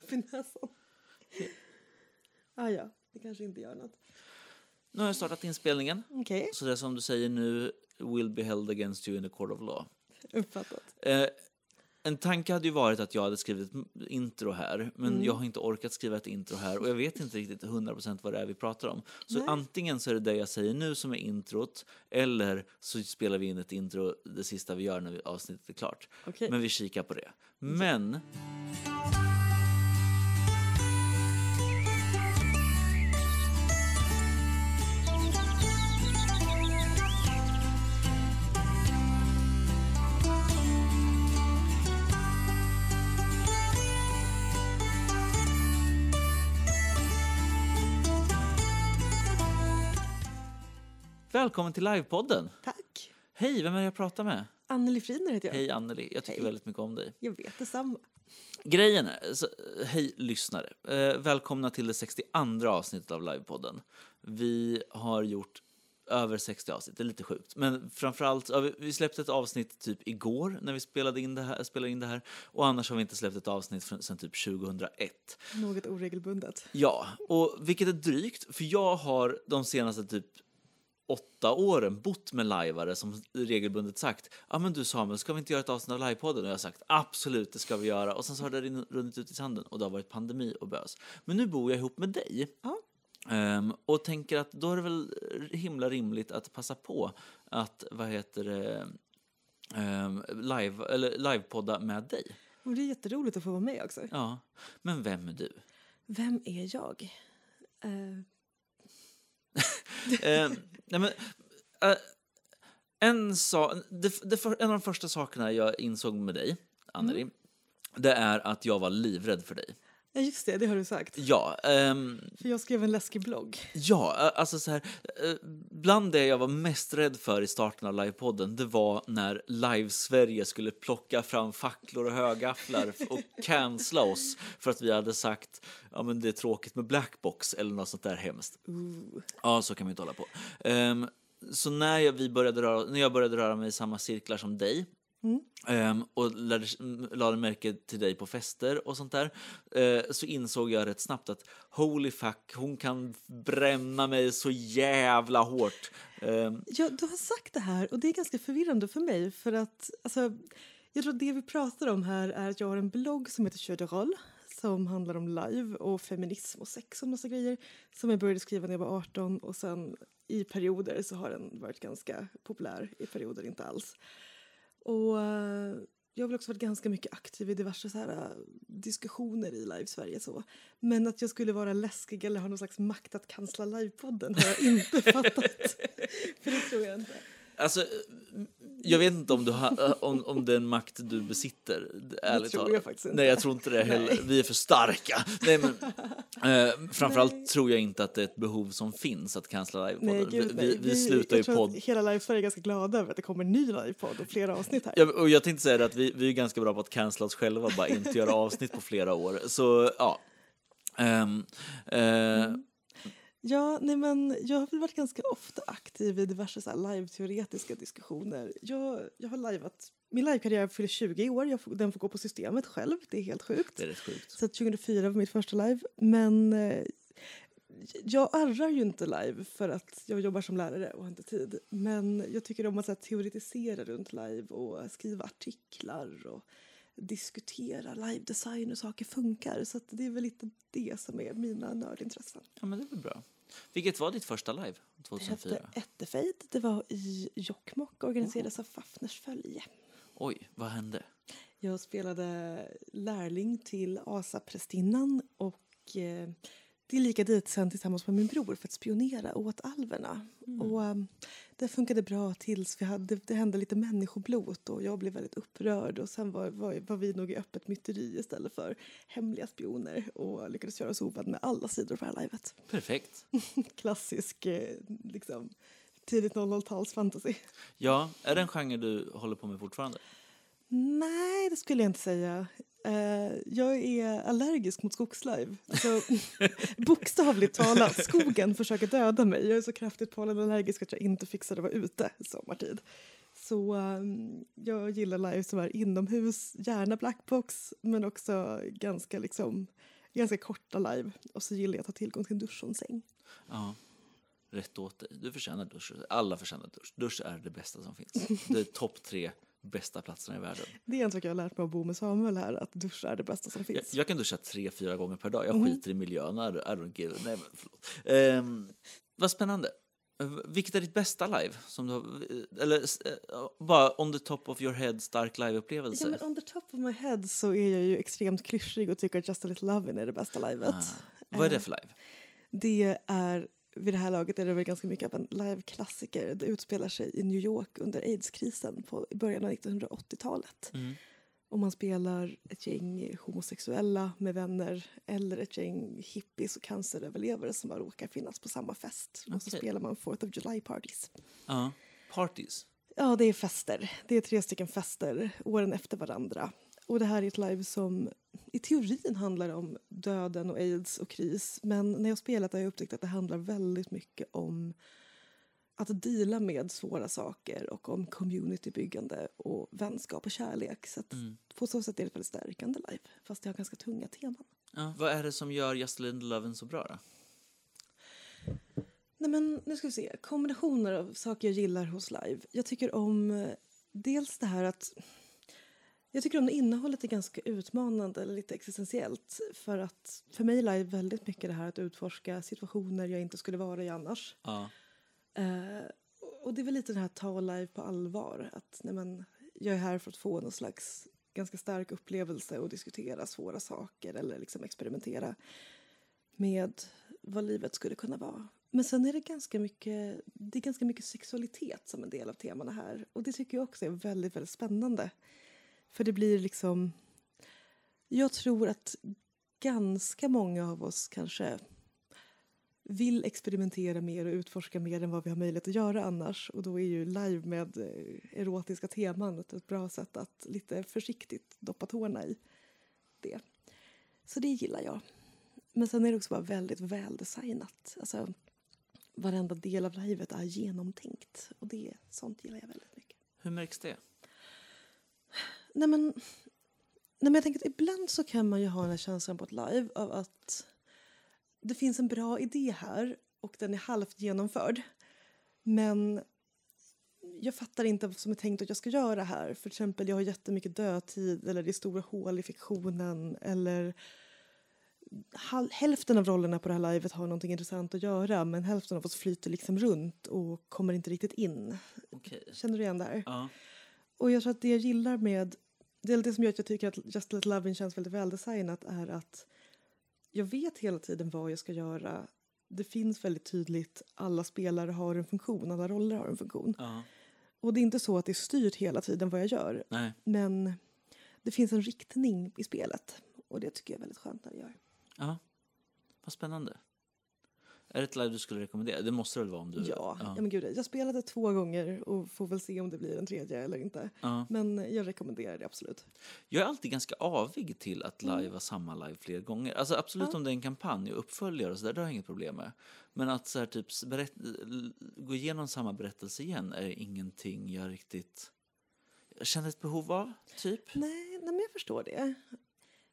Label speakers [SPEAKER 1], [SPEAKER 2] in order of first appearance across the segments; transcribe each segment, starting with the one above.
[SPEAKER 1] vid näsan. Ah, ja, det kanske inte gör något.
[SPEAKER 2] Nu har jag startat inspelningen.
[SPEAKER 1] Okej,
[SPEAKER 2] Så det som du säger nu will be held against you in the court of law.
[SPEAKER 1] uppfattat.
[SPEAKER 2] Eh, en tanke hade ju varit att jag hade skrivit ett intro här, men jag har inte orkat skriva ett intro här och jag vet inte riktigt 100% vad det är vi pratar om. Så antingen så är det det jag säger nu som är introt, eller så spelar vi in ett intro det sista vi gör när vi- avsnittet är klart.
[SPEAKER 1] Okej.
[SPEAKER 2] Men vi kikar på det. Men välkommen till livepodden!
[SPEAKER 1] Tack.
[SPEAKER 2] Hej, vem är det jag pratar med?
[SPEAKER 1] Anneli Friner heter jag.
[SPEAKER 2] Hej Anneli, jag tycker
[SPEAKER 1] Hej.
[SPEAKER 2] väldigt mycket om dig.
[SPEAKER 1] Jag vet detsamma.
[SPEAKER 2] Grejen är, så, hej lyssnare, eh, välkomna till det 62 avsnittet av Livepodden. Vi har gjort över 60 avsnitt, det är lite sjukt. Men framförallt, ja, vi- vi släppte ett avsnitt typ igår när vi spelade in det här, spelade in det här och annars har vi inte släppt ett avsnitt från- sedan typ 2001.
[SPEAKER 1] Något oregelbundet.
[SPEAKER 2] Ja, och vilket är drygt, för jag har de senaste typ åtta åren bott med lajvare som regelbundet sagt ja men du Samuel, ska vi inte göra ett avsnitt av livepodden? Och jag har sagt absolut, det ska vi göra. Och sen så har det rin- runnit ut i sanden och det har varit pandemi och bös. Men nu bor jag ihop med dig.
[SPEAKER 1] Ja.
[SPEAKER 2] Ehm, och tänker att då är det väl himla rimligt att passa på att, vad heter det, ehm, live, eller livepodda med dig.
[SPEAKER 1] Och det är jätteroligt att få vara med också.
[SPEAKER 2] Ja. Men vem är du?
[SPEAKER 1] Vem är jag? Eh,
[SPEAKER 2] Eh, nej men, eh, en, sa, det, det, för- en av de första sakerna jag insåg med dig, Anneli, det är att jag var livrädd för dig.
[SPEAKER 1] ja, just det, det har du sagt.
[SPEAKER 2] Ja, ehm,
[SPEAKER 1] För jag skrev en läskig blogg.
[SPEAKER 2] ja eh, alltså så här, eh, bland det jag var mest rädd för i starten av livepodden, det var när Live-Sverige skulle plocka fram facklor och högafflar f- och cancella oss för att vi hade sagt ja men det är tråkigt med blackbox eller något sånt där hemskt.
[SPEAKER 1] Ooh.
[SPEAKER 2] Ja, så kan vi inte hålla på. Ehm, så när jag, vi började röra, när jag började röra mig i samma cirklar som dig ehm, och lärde, m- lade märke till dig på fester och sånt där eh, så insåg jag rätt snabbt att holy fuck, hon kan bränna mig så jävla hårt. Ehm,
[SPEAKER 1] Ja, du har sagt det här och det är ganska förvirrande för mig för att alltså, jag tror att det vi pratar om här är att jag har en blogg som heter Köderol som handlar om live och feminism och sex och massa grejer som jag började skriva när jag var 18 och sen i perioder så har den varit ganska populär, i perioder inte alls. Och eh, jag har väl också varit ganska mycket aktiv i diverse så här, eh, diskussioner i Live Sverige så. Men att jag skulle vara läskig eller ha någon slags makt att kansla livepodden har jag inte fattat. För det tror jag inte.
[SPEAKER 2] alltså, eh, jag vet inte om, du ha, om, om den makt du besitter, ärligt
[SPEAKER 1] tror jag
[SPEAKER 2] talat.
[SPEAKER 1] faktiskt inte.
[SPEAKER 2] Nej, jag tror inte det heller. Vi är för starka. Nej, men, eh, framförallt tror jag inte att det är ett behov som finns att cancella
[SPEAKER 1] Nej,
[SPEAKER 2] livepodden. Vi,
[SPEAKER 1] gud, nej.
[SPEAKER 2] vi, vi slutar
[SPEAKER 1] jag
[SPEAKER 2] ju
[SPEAKER 1] tror att
[SPEAKER 2] podd.
[SPEAKER 1] Hela Live Sverige är ganska glada över att det kommer en ny livepodd och flera avsnitt här.
[SPEAKER 2] Ja, och jag tänkte säga det att vi, vi är ganska bra på att cancella oss själva bara inte göra avsnitt på flera år. Så ja. Ehm, eh,
[SPEAKER 1] Ja, nej men jag har väl varit ganska ofta aktiv i diverse så här live-teoretiska diskussioner. Jag, jag har lajvat, min livekarriär fyller 20 i år, jag får, den får gå på systemet själv, det är helt sjukt.
[SPEAKER 2] Det är rätt sjukt.
[SPEAKER 1] Så att 2004 var mitt första live, men eh, jag arrar ju inte live för att jag jobbar som lärare och har inte tid. Men jag tycker om att så här, teoretisera runt live och skriva artiklar och diskutera live-design och saker funkar. Så att det är väl lite det som är mina nördintressen.
[SPEAKER 2] Ja, men det är väl bra. Vilket var ditt första live?
[SPEAKER 1] Det hette
[SPEAKER 2] 2004?
[SPEAKER 1] Ettefejd. Det var i Jokkmokk och organiserades av Fafners följe.
[SPEAKER 2] Oj, vad hände?
[SPEAKER 1] Jag spelade lärling till Asaprästinnan och eh, det är lika dit sen tillsammans med min bror för att spionera åt alverna. Och, eh, det funkade bra tills vi hade, det hände lite människoblot och jag blev väldigt upprörd och sen var, var, var vi nog i öppet myteri istället för hemliga spioner och lyckades göra oss ovän med alla sidor på det här livet.
[SPEAKER 2] Perfekt.
[SPEAKER 1] Klassisk eh, liksom, tidigt 00-tals fantasy.
[SPEAKER 2] Ja, är det en genre du håller på med fortfarande?
[SPEAKER 1] Nej, det skulle jag inte säga. Eh, jag är allergisk mot skogsliv. Så, bokstavligt talat, skogen försöker döda mig. Jag är så kraftigt pollenallergisk att jag inte fixade att vara ute sommartid. Så eh, jag gillar live som är inomhus, gärna blackbox men också ganska liksom ganska korta live. Och så gillar jag att ha tillgång till en dusch och en säng.
[SPEAKER 2] Ja. Rätt åt dig. Du förtjänar dusch. Alla förtjänar dusch. Dusch är det bästa som finns. Det är topp tre bästa platserna i världen.
[SPEAKER 1] Det är en sak jag har lärt mig av Bo med Samuel här, att duscha är det bästa som
[SPEAKER 2] Jag,
[SPEAKER 1] finns.
[SPEAKER 2] jag kan duscha tre, fyra gånger per dag. Jag
[SPEAKER 1] Mm-hmm.
[SPEAKER 2] skiter i miljön. I don't give, nej, men förlåt. Ehm, vad spännande. Eh, Vilket är ditt bästa live? Som du har, eh, eller eh, bara on the top of your head, stark liveupplevelse?
[SPEAKER 1] Ja, men on the top of my head så är jag ju extremt klyschig och tycker att Just a little lovin' är det bästa livet.
[SPEAKER 2] Ah,
[SPEAKER 1] Eh.
[SPEAKER 2] vad är det för live?
[SPEAKER 1] Det är, vid det här laget är det väl ganska mycket av en live-klassiker. Det utspelar sig i New York under aidskrisen på, i början av 1980-talet.
[SPEAKER 2] Mm.
[SPEAKER 1] Och man spelar ett gäng homosexuella med vänner eller ett gäng hippies och canceröverlevare som bara råkar finnas på samma fest. Och så
[SPEAKER 2] Okej.
[SPEAKER 1] spelar man Fourth of July-parties.
[SPEAKER 2] Ja, parties.
[SPEAKER 1] Ja, det är fester. Det är tre stycken fester, åren efter varandra. Och det här är ett live som i teorin handlar om döden och aids och kris. Men när jag spelat har jag upptäckt att det handlar väldigt mycket om att deala med svåra saker och om communitybyggande och vänskap och kärlek. Så att på så sätt är det ett väldigt stärkande live, fast det har ganska tunga teman.
[SPEAKER 2] Ja. Vad är det som gör Just a little lovin' så bra? Då?
[SPEAKER 1] Nej, men nu ska vi se. Kombinationer av saker jag gillar hos live. Jag tycker om eh, dels det här att... Jag tycker om när innehållet är ganska utmanande eller lite existentiellt. För att för mig är live väldigt mycket det här att utforska situationer jag inte skulle vara i annars.
[SPEAKER 2] Ja.
[SPEAKER 1] Eh, och det är väl lite det här att ta live på allvar. Att nej, men, jag är här för att få någon slags ganska stark upplevelse och diskutera svåra saker eller liksom experimentera med vad livet skulle kunna vara. Men sen är det ganska mycket, det är ganska mycket sexualitet som en del av temana här. Och det tycker jag också är väldigt, väldigt spännande. För det blir liksom... Jag tror att ganska många av oss kanske vill experimentera mer och utforska mer än vad vi har möjlighet att göra annars. Och då är ju live med eh, erotiska teman ett- ett bra sätt att lite försiktigt doppa tårna i det. Så det gillar jag. Men sen är det också bara väldigt väldesignat. Alltså, varenda del av livet är genomtänkt och det, sånt gillar jag väldigt mycket.
[SPEAKER 2] Hur märks det?
[SPEAKER 1] Nej men, nej men jag tänker att ibland så kan man ju ha den här känslan på ett live av att det finns en bra idé här och den är halvt genomförd. Men jag fattar inte vad som är tänkt att jag ska göra här. För exempel jag har jättemycket dödtid eller det är stora hål i fiktionen eller hal- hälften av rollerna på det här livet har någonting intressant att göra men hälften av oss flyter liksom runt och kommer inte riktigt in.
[SPEAKER 2] Okej.
[SPEAKER 1] Känner du igen det här?
[SPEAKER 2] Ja.
[SPEAKER 1] Och jag tror att det jag gillar med... Det är det som gör att jag tycker att Just Let Lovin känns väldigt väldesignat är att jag vet hela tiden vad jag ska göra. Det finns väldigt tydligt, alla spelare har en funktion, alla roller har en funktion.
[SPEAKER 2] ja.
[SPEAKER 1] Och det är inte så att det är styrt hela tiden vad jag gör,
[SPEAKER 2] Nej.
[SPEAKER 1] men det finns en riktning i spelet. Och det tycker jag är väldigt skönt när det gör.
[SPEAKER 2] Ja. Vad spännande. Är det ett live du skulle rekommendera? Det måste det väl vara om du...
[SPEAKER 1] Ja, ja.
[SPEAKER 2] ja.
[SPEAKER 1] men gud, jag spelade två gånger och får väl se om det blir en tredje eller inte.
[SPEAKER 2] Ja.
[SPEAKER 1] Men jag rekommenderar det absolut.
[SPEAKER 2] Jag är alltid ganska avig till att lajva samma live fler gånger. Alltså absolut om det är en kampanj och uppföljare och sådär, det har jag inget problem med. Men att så här, typ, s- berätt, l- gå igenom samma berättelse igen är ingenting jag riktigt jag känner ett behov av, typ.
[SPEAKER 1] Nej, nej, men jag förstår det.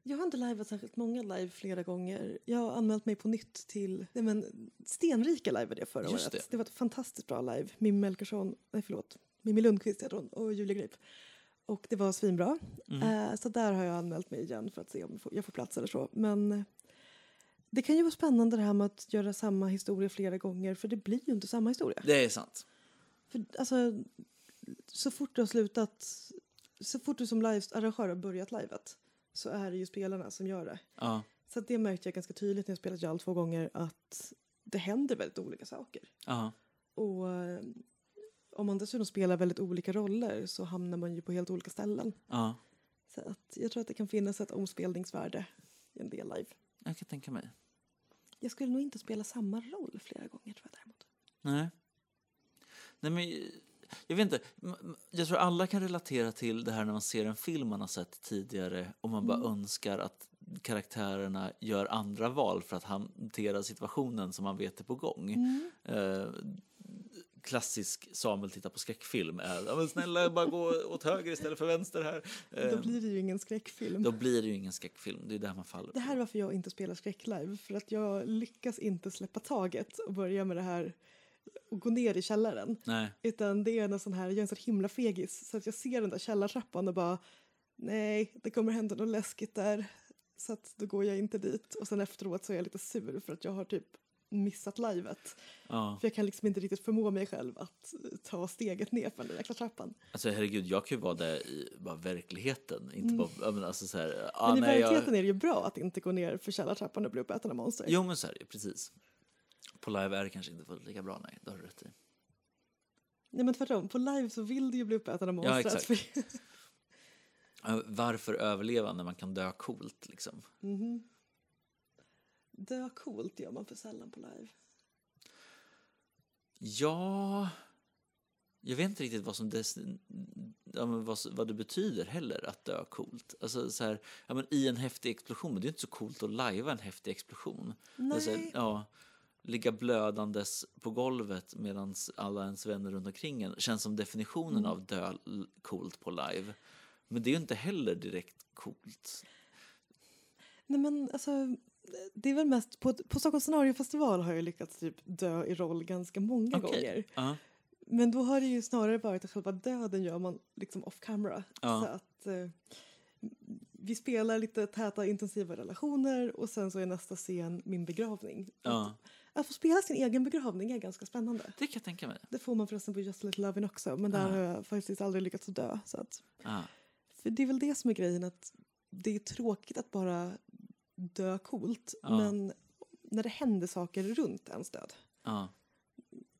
[SPEAKER 1] Jag har inte liveat särskilt många live flera gånger. Jag har anmält mig på nytt till nej men, Stenrika live var det förra
[SPEAKER 2] Just
[SPEAKER 1] året.
[SPEAKER 2] det.
[SPEAKER 1] Det. var ett fantastiskt bra live. Mimmi Melkersson, nej förlåt, Mimmi Lundqvist heter hon och Julia Grip. Och det var svinbra.
[SPEAKER 2] Mm.
[SPEAKER 1] Eh, så där har jag anmält mig igen för att se om jag får- jag får plats eller så. Men eh, det kan ju vara spännande det här med att göra samma historia flera gånger för det blir ju inte samma historia.
[SPEAKER 2] Det är sant.
[SPEAKER 1] För, alltså, så fort du har slutat... Så fort du som livearrangör har börjat livet så är det ju spelarna som gör det.
[SPEAKER 2] Ja.
[SPEAKER 1] Så att det märkte jag ganska tydligt när jag spelat Jarl två gånger att det händer väldigt olika saker.
[SPEAKER 2] Ja.
[SPEAKER 1] Och eh, om man dessutom spelar väldigt olika roller så hamnar man ju på helt olika ställen.
[SPEAKER 2] ja.
[SPEAKER 1] Så att jag tror att det kan finnas ett omspelningsvärde i en del live.
[SPEAKER 2] Jag kan tänka mig.
[SPEAKER 1] Jag skulle nog inte spela samma roll flera gånger tror jag däremot.
[SPEAKER 2] Nej. Nej, men jag vet inte. M- m- Jag tror alla kan relatera till det här när man ser en film man har sett tidigare och man bara
[SPEAKER 1] Mm.
[SPEAKER 2] önskar att karaktärerna gör andra
[SPEAKER 1] Mm.
[SPEAKER 2] val för att hantera situationen som man vet är på gång. Eh, klassisk Samuel tittar på skräckfilm är ja, men snälla bara gå åt höger istället för vänster här.
[SPEAKER 1] Då
[SPEAKER 2] Eh,
[SPEAKER 1] blir det ju ingen skräckfilm.
[SPEAKER 2] Då blir det ju ingen skräckfilm, det är där man faller.
[SPEAKER 1] Det här är varför jag inte spelar skräck live, för att jag lyckas inte släppa taget och börja med det här och gå ner i källaren.
[SPEAKER 2] Nej.
[SPEAKER 1] Utan det är en sån här, jag är en sån himla fegis så att jag ser den där källartrappan och bara nej, det kommer hända något läskigt där. Så att då går jag inte dit och sen efteråt så är jag lite sur för att jag har typ missat livet.
[SPEAKER 2] Ja.
[SPEAKER 1] För jag kan liksom inte riktigt förmå mig själv att ta steget ner för den där jäkla trappan.
[SPEAKER 2] Alltså herregud, jag kan ju vara där i bara verkligheten. Inte bara, ja, men alltså så här, ah,
[SPEAKER 1] Mm. Men i
[SPEAKER 2] nej, jag,
[SPEAKER 1] verkligheten är det ju bra att inte gå ner för källartrappan och bli uppäten av monster.
[SPEAKER 2] Jo, men så är det ju, precis. På live är det kanske inte fullt lika bra, nej. Det har du rätt i.
[SPEAKER 1] Nej men tvärtom, på live så vill du ju bli uppäten av monster.
[SPEAKER 2] exakt.
[SPEAKER 1] För...
[SPEAKER 2] Eh, Varför överleva när man kan dö coolt, liksom?
[SPEAKER 1] Mhm. Dö coolt gör man för sällan på live.
[SPEAKER 2] Ja... Jag vet inte riktigt vad som des, ja, men vad, vad det betyder heller att dö coolt. Alltså, så här, ja, men I en häftig explosion, men det är ju inte så coolt att lajva en häftig explosion. Det är så här,
[SPEAKER 1] Nej.
[SPEAKER 2] ja, ligga blödandes på golvet medan alla ens vänner runt omkring en känns som definitionen av dö l- coolt på live. Men det är ju inte heller direkt coolt.
[SPEAKER 1] Nej men alltså, det är väl mest på, på Stockholms scenariofestival har jag lyckats typ dö i roll ganska många
[SPEAKER 2] Okej.
[SPEAKER 1] gånger.
[SPEAKER 2] Ja.
[SPEAKER 1] Men då har det ju snarare varit att själva döden gör man liksom off camera.
[SPEAKER 2] Ja.
[SPEAKER 1] Så att eh, vi spelar lite täta intensiva relationer och sen så är nästa scen min begravning.
[SPEAKER 2] Ja.
[SPEAKER 1] Att, att få spela sin egen begravning är ganska spännande.
[SPEAKER 2] Det kan jag tänka mig.
[SPEAKER 1] Det får man förresten på Just a Little Lovin' också men där
[SPEAKER 2] Ah.
[SPEAKER 1] har jag faktiskt aldrig lyckats att dö. Så att,
[SPEAKER 2] Ja.
[SPEAKER 1] för det är väl det som är grejen att det är tråkigt att bara dö coolt
[SPEAKER 2] Ja.
[SPEAKER 1] men när det händer saker runt ens död.
[SPEAKER 2] Ja.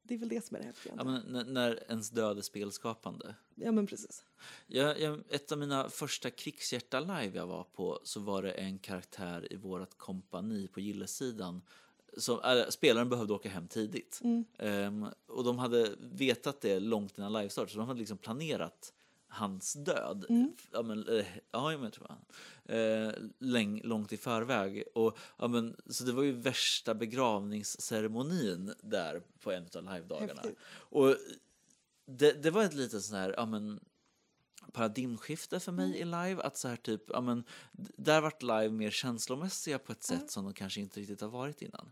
[SPEAKER 1] Det är väl det som är det häftiga.
[SPEAKER 2] Ja, men n- när ens död är spelskapande.
[SPEAKER 1] ja men precis.
[SPEAKER 2] Jag, jag, ett av mina första krigshjärta live jag var på så var det en karaktär i vårt kompani på gillesidan som, äh, spelaren behövde åka hem tidigt. Ehm, och de hade vetat det långt innan livestart så de hade liksom planerat hans död. Ja, men, eh, ja, jag tror jag. Eh, läng, långt i förväg. Och, ja, men, så det var ju värsta begravningsceremonin där på en av livedagarna.
[SPEAKER 1] Häftigt.
[SPEAKER 2] Och det, det var ett litet sån här, ja men paradigmskifte för
[SPEAKER 1] Mm.
[SPEAKER 2] mig i live. Att så här typ, ja men, d- där vart live mer känslomässiga på ett sätt som de kanske inte riktigt har varit innan.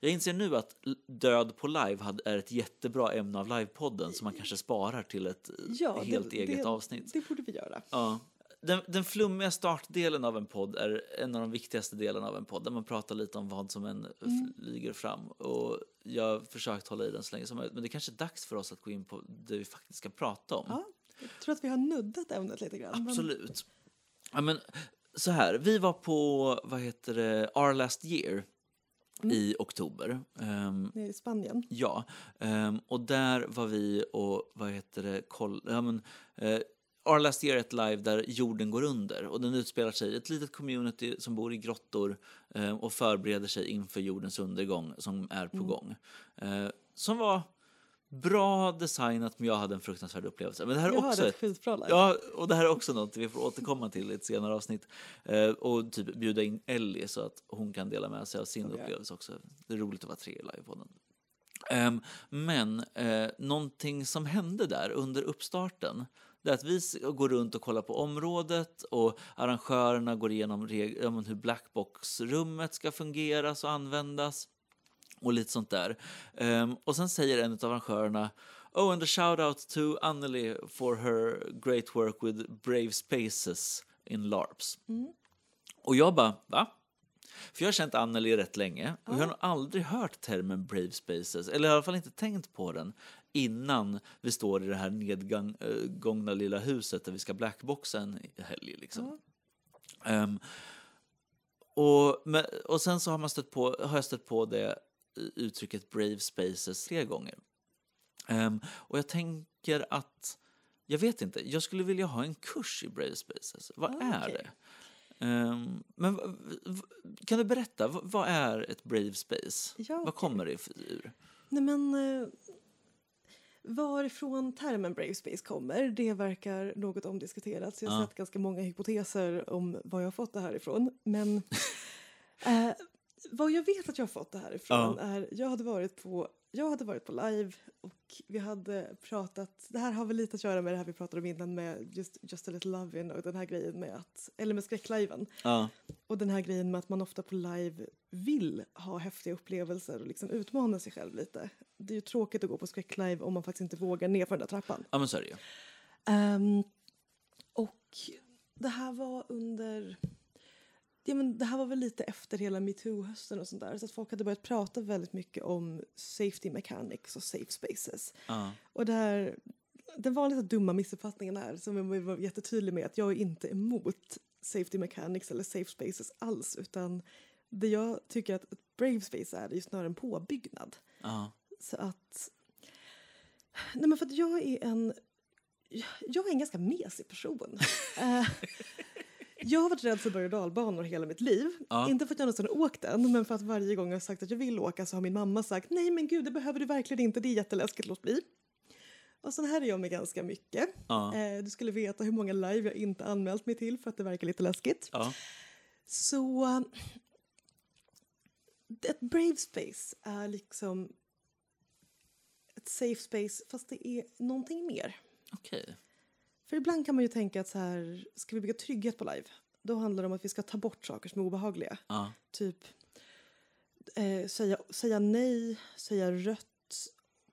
[SPEAKER 2] Jag inser nu att l- död på live hade- är ett jättebra ämne av livepodden som man kanske sparar till ett eh,
[SPEAKER 1] Mm. Ja,
[SPEAKER 2] helt eget
[SPEAKER 1] det,
[SPEAKER 2] avsnitt.
[SPEAKER 1] Det borde vi göra.
[SPEAKER 2] Ja. Den, den flummiga startdelen av en podd är en av de viktigaste delarna av en podd där man pratar lite om vad som än
[SPEAKER 1] Mm.
[SPEAKER 2] flyger fram. Och jag har försökt hålla i den så länge som möjligt men det kanske är dags för oss att gå in på det vi faktiskt ska prata om.
[SPEAKER 1] Ja, jag tror att vi har nuddat ämnet lite grann. men-
[SPEAKER 2] Absolut. Ja, men, så här, vi var på vad heter det, Our Last Year
[SPEAKER 1] Mm.
[SPEAKER 2] i oktober. Ehm,
[SPEAKER 1] Nere i Spanien.
[SPEAKER 2] Ja, ehm, och där var vi och vad heter det, koll, ja, men, eh, Our Last Year är ett live där jorden går under och den utspelar sig i ett litet community som bor i grottor ehm, och förbereder sig inför jordens undergång som är
[SPEAKER 1] Mm.
[SPEAKER 2] på gång. Eh, som var bra designat men jag hade en fruktansvärd upplevelse. Men det här är
[SPEAKER 1] Jag
[SPEAKER 2] också
[SPEAKER 1] hörde
[SPEAKER 2] ett
[SPEAKER 1] ett skitbra live.
[SPEAKER 2] Ja, och det här är också något vi får återkomma till i ett senare avsnitt. Eh, och typ bjuda in Ellie så att hon kan dela med sig av sin
[SPEAKER 1] vi göra.
[SPEAKER 2] upplevelse också. Det är roligt att vara tre i livepodden. Ehm, men eh, någonting som hände där under uppstarten det är att vi s- går runt och kollar på området och arrangörerna går igenom reg- ja, men hur blackbox-rummet ska fungeras och användas och lite sånt där. Ehm, och sen säger en av arrangörerna Oh, and a shout out to Anneli for her great work with Brave Spaces in LARPs. Och jag bara, va? För jag har känt Anneli rätt länge och jag har nog aldrig hört termen Brave Spaces, eller i alla fall inte tänkt på den innan vi står i det här nedgångna lilla huset där vi ska blackboxa en helg. Liksom. Ehm, och, men, och sen så har, man stött på, har jag stött på det eh, uttrycket Brave Spaces tre gånger. Ehm, och jag tänker att, jag vet inte, jag skulle vilja ha en kurs i Brave Spaces. Vad
[SPEAKER 1] Ah,
[SPEAKER 2] är
[SPEAKER 1] okej.
[SPEAKER 2] det? Ehm, men v- v- kan du berätta, v- vad är ett Brave Space?
[SPEAKER 1] Ja,
[SPEAKER 2] Vad
[SPEAKER 1] okej.
[SPEAKER 2] kommer det f- ur?
[SPEAKER 1] Nej, men, eh, varifrån termen Brave Space kommer, det verkar något omdiskuterat. Så jag har
[SPEAKER 2] Ja.
[SPEAKER 1] sett ganska många hypoteser om var jag har fått det här ifrån. Men eh, Vad jag vet att jag har fått det här ifrån
[SPEAKER 2] Ja.
[SPEAKER 1] är jag hade varit på jag hade varit på live och vi hade pratat, det här har väl lite att göra med det här vi pratade om innan med just, just a little lovin och den här grejen med att, eller med skräckliven
[SPEAKER 2] Ja,
[SPEAKER 1] och den här grejen med att man ofta på live vill ha häftiga upplevelser och liksom utmana sig själv lite. Det är ju tråkigt att gå på skräcklive om man faktiskt inte vågar ner för den där trappan.
[SPEAKER 2] ja men så är det ju.
[SPEAKER 1] Ehm, och det här var under... Ja, men det här var väl lite efter hela metoo-hösten och sånt där. Så att folk hade börjat prata väldigt mycket om safety mechanics och safe spaces.
[SPEAKER 2] Ja.
[SPEAKER 1] Och det här, den vanliga dumma missuppfattningen är, som jag vill vara jättetydlig med, att jag är inte emot safety mechanics eller safe spaces alls. Utan det jag tycker att ett brave space är, det är ju snarare en påbyggnad.
[SPEAKER 2] Ja.
[SPEAKER 1] Så att... Nej, men för att jag är en... Jag är en ganska mesig person. Eh, jag har varit rädd för berg och dalbanor hela mitt liv.
[SPEAKER 2] Ja.
[SPEAKER 1] Inte för att jag någonsin har åkt den, men för att varje gång jag har sagt att jag vill åka så har min mamma sagt nej men gud, det behöver du verkligen inte, det är jätteläskigt, låt bli. Och sån här är jag med ganska mycket.
[SPEAKER 2] Ja.
[SPEAKER 1] Eh, du skulle veta hur många live jag inte anmält mig till för att det verkar lite läskigt.
[SPEAKER 2] Ja.
[SPEAKER 1] Så... um, Ett brave space är liksom ett safe space, fast det är någonting mer.
[SPEAKER 2] Okej.
[SPEAKER 1] För ibland kan man ju tänka att så här, ska vi bygga trygghet på live? Då handlar det om att vi ska ta bort saker som är obehagliga.
[SPEAKER 2] Ja.
[SPEAKER 1] Typ eh, säga, säga nej, säga rött.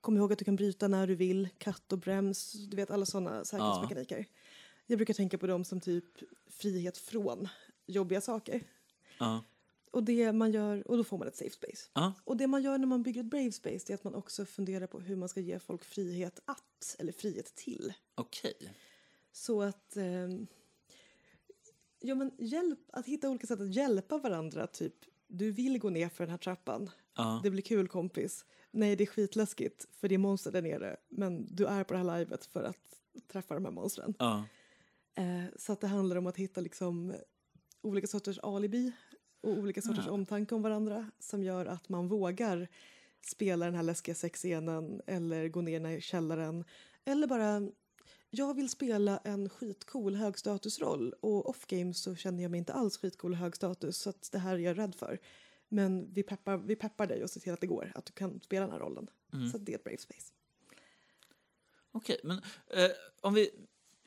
[SPEAKER 1] Kom ihåg att du kan bryta när du vill, katt och brems. Du vet alla sådana säkerhetsmekaniker. Jag brukar tänka på dem som typ frihet från jobbiga saker.
[SPEAKER 2] Ja.
[SPEAKER 1] Och, det man gör, och då får man ett safe space.
[SPEAKER 2] Ja.
[SPEAKER 1] Och det man gör när man bygger ett brave space det är att man också funderar på hur man ska ge folk frihet att, eller frihet till.
[SPEAKER 2] Okej.
[SPEAKER 1] Så att... ehm, ja, men hjälp, att hitta olika sätt att hjälpa varandra, typ du vill gå ner för den här trappan,
[SPEAKER 2] Ja.
[SPEAKER 1] det blir kul kompis. Nej, det är skitläskigt för det är monster där nere, men du är på det här livet för att träffa de här monstren.
[SPEAKER 2] Ja.
[SPEAKER 1] Eh, så att det handlar om att hitta liksom olika sorters alibi och olika sorters omtanke om varandra som gör att man vågar spela den här läskiga sexscenen eller gå ner i källaren eller bara jag vill spela en skitcool högstatusroll och off-game så känner jag mig inte alls skitcool och högstatus så att det här är jag rädd för. Men vi peppar, vi peppar dig och ser till att det går, att du kan spela den här rollen. Så att det är ett brave space.
[SPEAKER 2] Okej, men eh, om vi...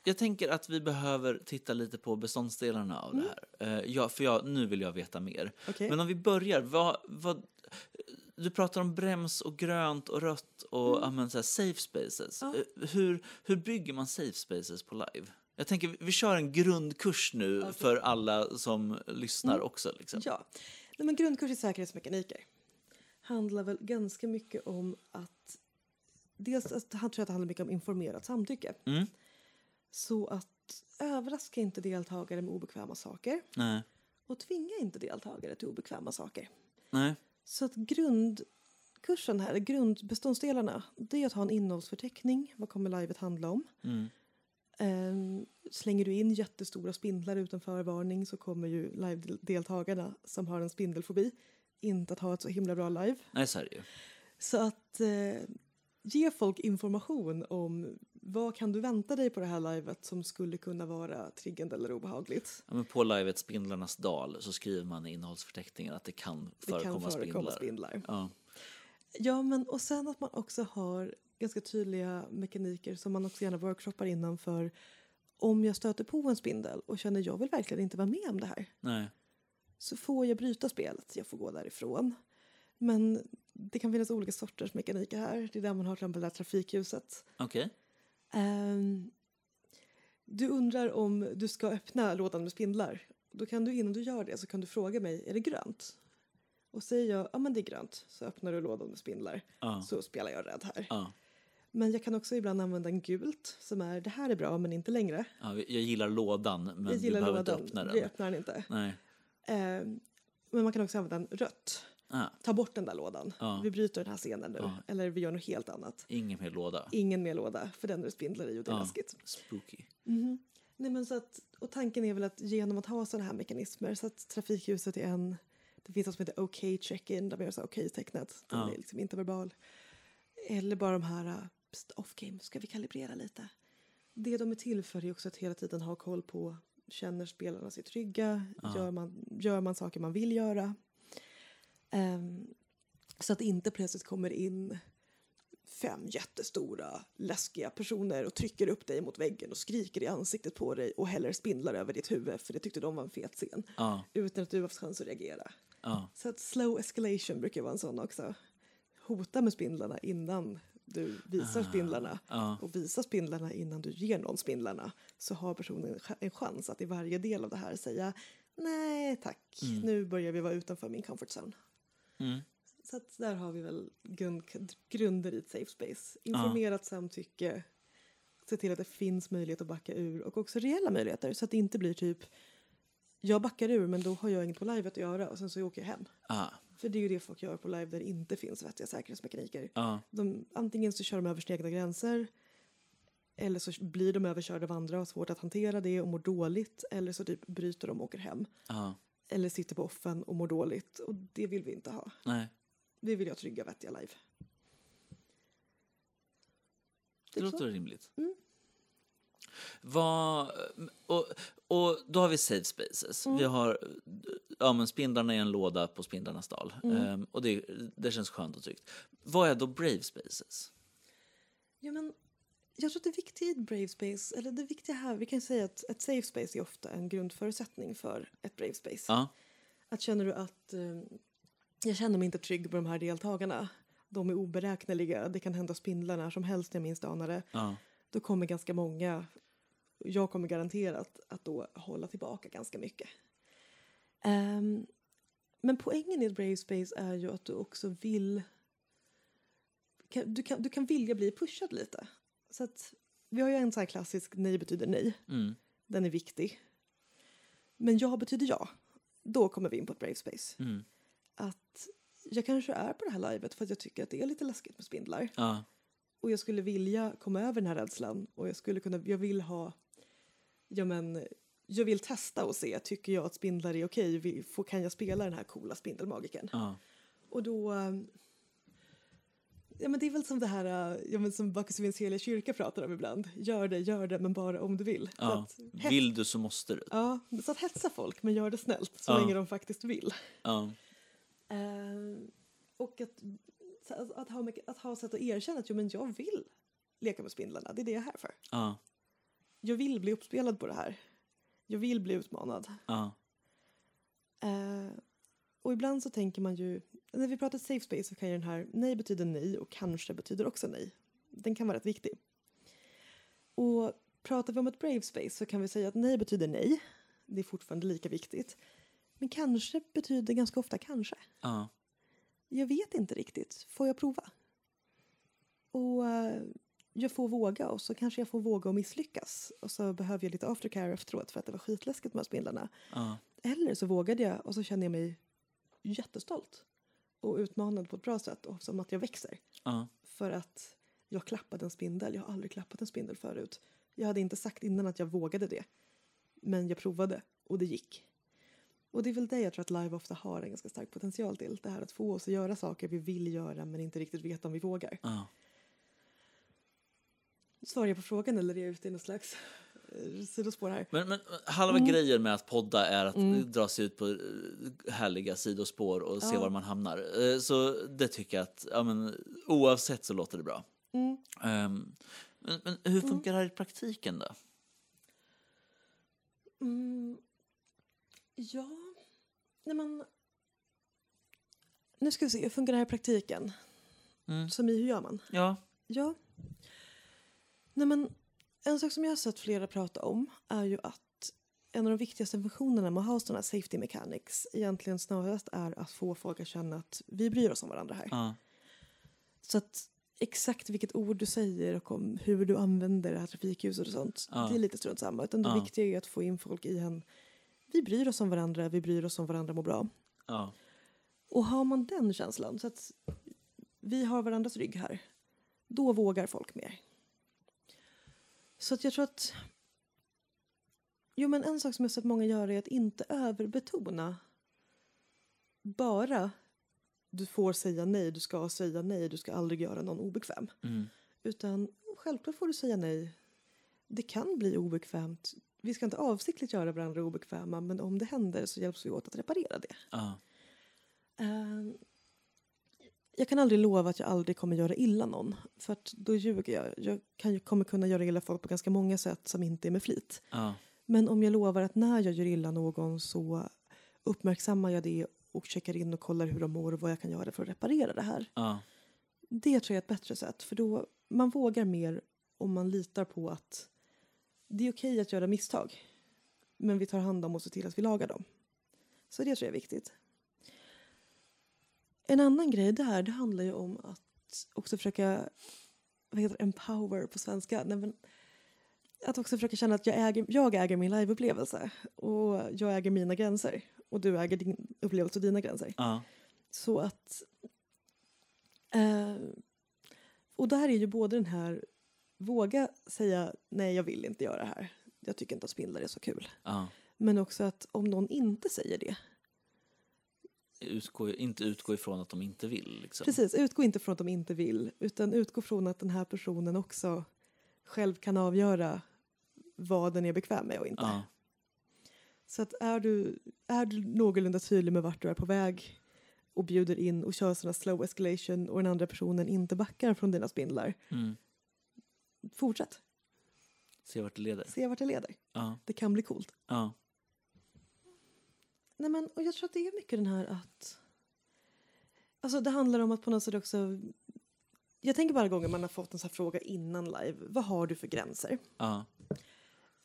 [SPEAKER 2] Jag tänker att vi behöver titta lite på beståndsdelarna av
[SPEAKER 1] Mm.
[SPEAKER 2] det här. Eh, ja, för jag, nu vill jag veta mer.
[SPEAKER 1] Okej.
[SPEAKER 2] Men om vi börjar, vad, vad, du pratar om brems och grönt och rött och ja, men så här, safe spaces.
[SPEAKER 1] Mm. Ja.
[SPEAKER 2] Eh, hur, hur bygger man safe spaces på live? Jag tänker, vi- vi kör en grundkurs nu för alla som lyssnar
[SPEAKER 1] Mm.
[SPEAKER 2] också. Liksom.
[SPEAKER 1] Ja. Nej, men grundkurs i säkerhetsmekaniker handlar väl ganska mycket om att... Dels att, han tror jag att det handlar mycket om informerat samtycke.
[SPEAKER 2] Mm.
[SPEAKER 1] Så att överraska inte deltagare med obekväma saker
[SPEAKER 2] Nej.
[SPEAKER 1] och tvinga inte deltagare till obekväma saker.
[SPEAKER 2] Nej.
[SPEAKER 1] Så att grundkursen här, grundbeståndsdelarna, det är att ha en innehållsförteckning. Vad kommer livet handla om?
[SPEAKER 2] Mm.
[SPEAKER 1] Ehm, slänger du in jättestora spindlar utan förvarning så kommer ju live-deltagarna som har en spindelfobi inte att ha ett så himla bra live.
[SPEAKER 2] Nej, så är det ju.
[SPEAKER 1] Så att eh, ge folk information om vad kan du vänta dig på det här livet som skulle kunna vara triggande eller obehagligt.
[SPEAKER 2] Ja, men på livet Spindlarnas dal så skriver man i innehållsförteckningen att det kan
[SPEAKER 1] Det
[SPEAKER 2] förekomma,
[SPEAKER 1] kan förekomma
[SPEAKER 2] spindlar.
[SPEAKER 1] spindlar.
[SPEAKER 2] Ja.
[SPEAKER 1] Ja, men och sen att man också har ganska tydliga mekaniker som man också gärna workshoppar innan för om jag stöter på en spindel och känner jag vill verkligen inte vara med om det här
[SPEAKER 2] Nej.
[SPEAKER 1] så får jag bryta spelet, jag får gå därifrån. Men det kan finnas olika sorters mekaniker här. Det är där man har till exempel det här trafikljuset.
[SPEAKER 2] Okej.
[SPEAKER 1] Ehm, du undrar om du ska öppna lådan med spindlar. Då kan du innan du gör det så kan du fråga mig, är det grönt? Och säger jag, ja men det är grönt, så öppnar du lådan med spindlar.
[SPEAKER 2] Ja.
[SPEAKER 1] Så spelar jag rädd här.
[SPEAKER 2] Ja.
[SPEAKER 1] Men jag kan också ibland använda en gult som är, det här är bra men inte längre.
[SPEAKER 2] Ja, vi- jag gillar lådan, men
[SPEAKER 1] jag gillar
[SPEAKER 2] du behöver
[SPEAKER 1] lådan,
[SPEAKER 2] inte öppna den.
[SPEAKER 1] jag öppnar den inte.
[SPEAKER 2] Nej.
[SPEAKER 1] Ehm, men man kan också använda en rött.
[SPEAKER 2] Ah,
[SPEAKER 1] ta bort den där lådan.
[SPEAKER 2] Ja.
[SPEAKER 1] Vi bryter den här scenen nu.
[SPEAKER 2] Ja.
[SPEAKER 1] Eller vi gör något helt annat.
[SPEAKER 2] ingen mer låda.
[SPEAKER 1] Ingen mer låda, för den är det spindlar i och det är
[SPEAKER 2] Ja.
[SPEAKER 1] läskigt.
[SPEAKER 2] Spooky.
[SPEAKER 1] Nej, men så att, och tanken är väl att genom att ha sådana här mekanismer så att trafikljuset är en... Det finns något som heter OK check-in där man gör så här OK-tecknet. Den
[SPEAKER 2] Ja.
[SPEAKER 1] är liksom inte verbal. Eller bara de här uh, pst, off-game, ska vi kalibrera lite? Det de är till för är också att hela tiden ha koll på känner spelarna sig trygga? Gör, man, gör man saker man vill göra? Ehm, så att det inte plötsligt kommer in fem jättestora läskiga personer och trycker upp dig mot väggen och skriker i ansiktet på dig och häller spindlar över ditt huvud för det tyckte de var en fet scen
[SPEAKER 2] Ja,
[SPEAKER 1] utan att du haft chans att reagera.
[SPEAKER 2] ja.
[SPEAKER 1] Så att slow escalation brukar vara en sån också. Hota med spindlarna innan du visar spindlarna
[SPEAKER 2] Ah. ja.
[SPEAKER 1] och visa spindlarna innan du ger någon spindlarna så har personen en ch- en chans att i varje del av det här säga nej tack, nu börjar vi vara utanför min comfort zone.
[SPEAKER 2] Mm.
[SPEAKER 1] Så att där har vi väl grund, grunder i ett safe space. Informerat samtycke, se till att det finns möjlighet att backa ur och också reella möjligheter så att det inte blir typ jag backar ur men då har jag inget på live att göra och sen så åker jag hem.
[SPEAKER 2] Ja,
[SPEAKER 1] För det är ju det folk gör på live där det inte finns vettiga säkerhetsmekaniker.
[SPEAKER 2] ja.
[SPEAKER 1] De, antingen så kör de över sina egna gränser eller så blir de överkörda av andra och har svårt att hantera det och mår dåligt eller så typ bryter de och åker hem.
[SPEAKER 2] ja.
[SPEAKER 1] Eller sitter på offen och mår dåligt och det vill vi inte ha.
[SPEAKER 2] Nej.
[SPEAKER 1] Vi vill ju ha trygga, vettiga live.
[SPEAKER 2] Det
[SPEAKER 1] Typ så.
[SPEAKER 2] låter rimligt. Vad, och, och då har vi safe spaces. Vi
[SPEAKER 1] Mm.
[SPEAKER 2] har ja, men spindlarna i en låda på Spindlarnas dal.
[SPEAKER 1] Mm.
[SPEAKER 2] Ehm, och det, det känns skönt och tryggt. Vad är då brave spaces?
[SPEAKER 1] Ja, men jag tror att det viktiga i ett brave space, eller det viktiga här, vi kan ju säga att ett safe space är ofta en grundförutsättning för ett brave space.
[SPEAKER 2] Ja,
[SPEAKER 1] Att känner du att eh, jag känner mig inte trygg med de här deltagarna, de är oberäkneliga, det kan hända spindlar när som helst när jag minst anar det,
[SPEAKER 2] ja,
[SPEAKER 1] då kommer ganska många, jag kommer garanterat att då hålla tillbaka ganska mycket. Ehm, men poängen i ett brave space är ju att du också vill, kan, du, kan, du kan vilja bli pushad lite. Så att, vi har ju en så här klassisk nej betyder nej,
[SPEAKER 2] mm,
[SPEAKER 1] den är viktig. Men ja betyder ja, då kommer vi in på ett brave space.
[SPEAKER 2] mm,
[SPEAKER 1] Att jag kanske är på det här livet för att jag tycker att det är lite läskigt med spindlar.
[SPEAKER 2] ja,
[SPEAKER 1] Och jag skulle vilja komma över den här rädslan och jag skulle kunna, jag vill ha, ja men, jag vill testa och se, tycker jag att spindlar är okej, Vi- får- kan jag spela den här coola spindelmagiken?
[SPEAKER 2] ja,
[SPEAKER 1] Och då, eh, ja men det är väl som det här, eh, ja men som Bacchus Vincelius kyrka pratar om ibland, gör det, gör det, men bara om du vill. Så
[SPEAKER 2] ja.
[SPEAKER 1] att, hets-
[SPEAKER 2] Vill du så måste du.
[SPEAKER 1] Ja, så att hetsa folk, men gör det snällt så
[SPEAKER 2] Ja.
[SPEAKER 1] länge de faktiskt vill.
[SPEAKER 2] Ja,
[SPEAKER 1] Eh, och att, så att, att, ha, att ha sätt att erkänna att jo, men jag vill leka med spindlarna, det är det jag är här för.
[SPEAKER 2] ja,
[SPEAKER 1] Jag vill bli uppspelad på det här. Jag vill bli utmanad.
[SPEAKER 2] ja,
[SPEAKER 1] Eh, och ibland så tänker man ju, när vi pratar safe space så kan ju den här nej betyder nej och kanske betyder också nej. Den kan vara rätt viktig. Och pratar vi om ett brave space så kan vi säga att nej betyder nej. Det är fortfarande lika viktigt. Men kanske betyder ganska ofta kanske.
[SPEAKER 2] ja,
[SPEAKER 1] Jag vet inte riktigt. Får jag prova? Och eh, jag får våga och så kanske jag får våga och misslyckas. Och så behöver jag lite aftercare efteråt för att det var skitläskigt med spindlarna.
[SPEAKER 2] ja,
[SPEAKER 1] Eller så vågade jag och så känner jag mig jättestolt och utmanad på ett bra sätt och som att jag växer.
[SPEAKER 2] ja,
[SPEAKER 1] För att jag klappade en spindel. Jag har aldrig klappat en spindel förut. Jag hade inte sagt innan att jag vågade det. Men jag provade och det gick. Och det är väl det jag tror att live ofta har en ganska stark potential till. Det här att få oss att göra saker vi vill göra men inte riktigt vet om vi vågar.
[SPEAKER 2] ja.
[SPEAKER 1] Svarar jag på frågan eller är jag ute i något slags eh, sidospår här?
[SPEAKER 2] Men, men halva grejen med att podda är att dra sig ut på eh, härliga sidospår och se var man hamnar. Eh, Så det tycker jag att, ja, men, oavsett så låter det bra. Ehm, men, men hur funkar det här i praktiken då?
[SPEAKER 1] Mm, ja, nej men... Nu ska vi se, hur fungerar det här i praktiken?
[SPEAKER 2] Mm.
[SPEAKER 1] Som i, hur gör man?
[SPEAKER 2] Ja,
[SPEAKER 1] Ja. Nej, men en sak som jag har sett flera prata om är ju att en av de viktigaste funktionerna med att ha sådana här safety mechanics egentligen snarast är att få folk att känna att vi bryr oss om varandra här.
[SPEAKER 2] ja,
[SPEAKER 1] Så att exakt vilket ord du säger och om hur du använder det här trafikljuset och sånt,
[SPEAKER 2] Ja.
[SPEAKER 1] det är lite strunt samma. Utan det
[SPEAKER 2] Ja.
[SPEAKER 1] viktiga är att få in folk i en vi bryr oss om varandra, vi bryr oss om varandra mår bra.
[SPEAKER 2] ja,
[SPEAKER 1] Och har man den känslan, så att vi har varandras rygg här, då vågar folk mer. Så att jag tror att... Jo, men en sak som jag sett många göra är att inte överbetona bara du får säga nej, du ska säga nej, du ska aldrig göra någon obekväm.
[SPEAKER 2] mm,
[SPEAKER 1] Utan självklart får du säga nej. Det kan bli obekvämt. Vi ska inte avsiktligt göra varandra obekväma men om det händer så hjälps vi åt att reparera det.
[SPEAKER 2] ja,
[SPEAKER 1] Eh, jag kan aldrig lova att jag aldrig kommer göra illa någon, för att då ljuger jag. Jag kan, ju- kommer kunna göra illa folk på ganska många sätt som inte är med flit.
[SPEAKER 2] Ja.
[SPEAKER 1] Men om jag lovar att när jag gör illa någon så uppmärksammar jag det och checkar in och kollar hur de mår och vad jag kan göra för att reparera det här.
[SPEAKER 2] Ja.
[SPEAKER 1] Det tror jag är ett bättre sätt, för då man vågar mer om man litar på att det är okej att göra misstag, men vi tar hand om och ser till att vi lagar dem. Så det tror jag är viktigt. En annan grej där, det handlar ju om att också försöka, vad heter det, empower på svenska? Nej, men, att också försöka känna att jag äger, jag äger min liveupplevelse och jag äger mina gränser och du äger din upplevelse och dina gränser.
[SPEAKER 2] Ja.
[SPEAKER 1] Så att... Eh, och där är ju både den här våga säga nej, jag vill inte göra det här. Jag tycker inte att spindlar är så kul.
[SPEAKER 2] ja.
[SPEAKER 1] Men också att om någon inte säger det,
[SPEAKER 2] Utgå, inte utgå ifrån att de inte vill. Liksom.
[SPEAKER 1] precis, utgå inte från att de inte vill utan utgå från att den här personen också själv kan avgöra vad den är bekväm med och inte.
[SPEAKER 2] Ja.
[SPEAKER 1] Så att är du, är du någorlunda tydlig med vart du är på väg och bjuder in och kör sådana slow escalation och den andra personen inte backar från dina spindlar,
[SPEAKER 2] Mm.
[SPEAKER 1] fortsätt.
[SPEAKER 2] Se vart det leder.
[SPEAKER 1] Se vart det leder.
[SPEAKER 2] Ja.
[SPEAKER 1] Det kan bli coolt.
[SPEAKER 2] Ja.
[SPEAKER 1] Nej, men, och jag tror att det är mycket den här att... Alltså det handlar om att på något sätt också... Jag tänker bara gånger man har fått en sån här fråga innan live. Vad har du för gränser?
[SPEAKER 2] Ja.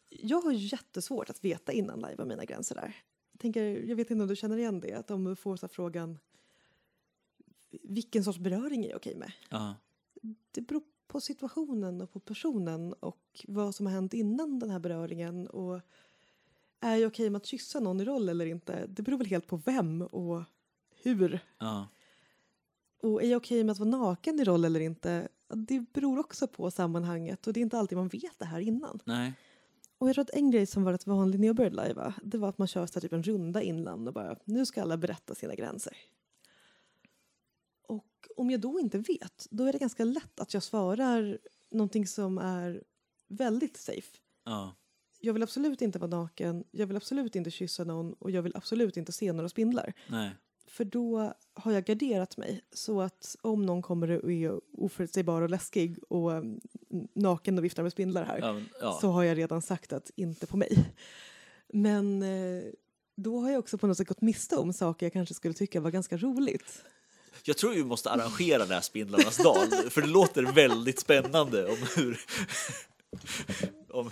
[SPEAKER 1] Jag har ju jättesvårt att veta innan live vad mina gränser är. Jag, tänker, jag vet inte om du känner igen det, att om du får så här frågan vilken sorts beröring är jag okej med?
[SPEAKER 2] Ja.
[SPEAKER 1] Det beror på situationen och på personen och vad som har hänt innan den här beröringen. Och är jag okej med att kyssa någon i roll eller inte? Det beror väl helt på vem och hur.
[SPEAKER 2] Ja.
[SPEAKER 1] Och är jag okej med att vara naken i roll eller inte? Det beror också på sammanhanget och det är inte alltid man vet det här innan.
[SPEAKER 2] Nej.
[SPEAKER 1] Och jag tror att en grej som var rätt vanlig när jag började lajva det var att man kör så här typ en runda innan och bara nu ska alla berätta sina gränser. Och om jag då inte vet, då är det ganska lätt att jag svarar någonting som är väldigt safe.
[SPEAKER 2] Ja.
[SPEAKER 1] Jag vill absolut inte vara naken, jag vill absolut inte kyssa någon och jag vill absolut inte se några spindlar.
[SPEAKER 2] Nej.
[SPEAKER 1] För då har jag garderat mig så att om någon kommer och är oförutsägbar och läskig och mm, naken och viftar med spindlar här
[SPEAKER 2] Ja. men- ja.
[SPEAKER 1] så har jag redan sagt att inte på mig. Men eh, då har jag också på något sätt gått miste om saker jag kanske skulle tycka var ganska roligt.
[SPEAKER 2] Jag tror vi måste arrangera den här Spindlarnas dag, nu, för det låter väldigt spännande om hur, om,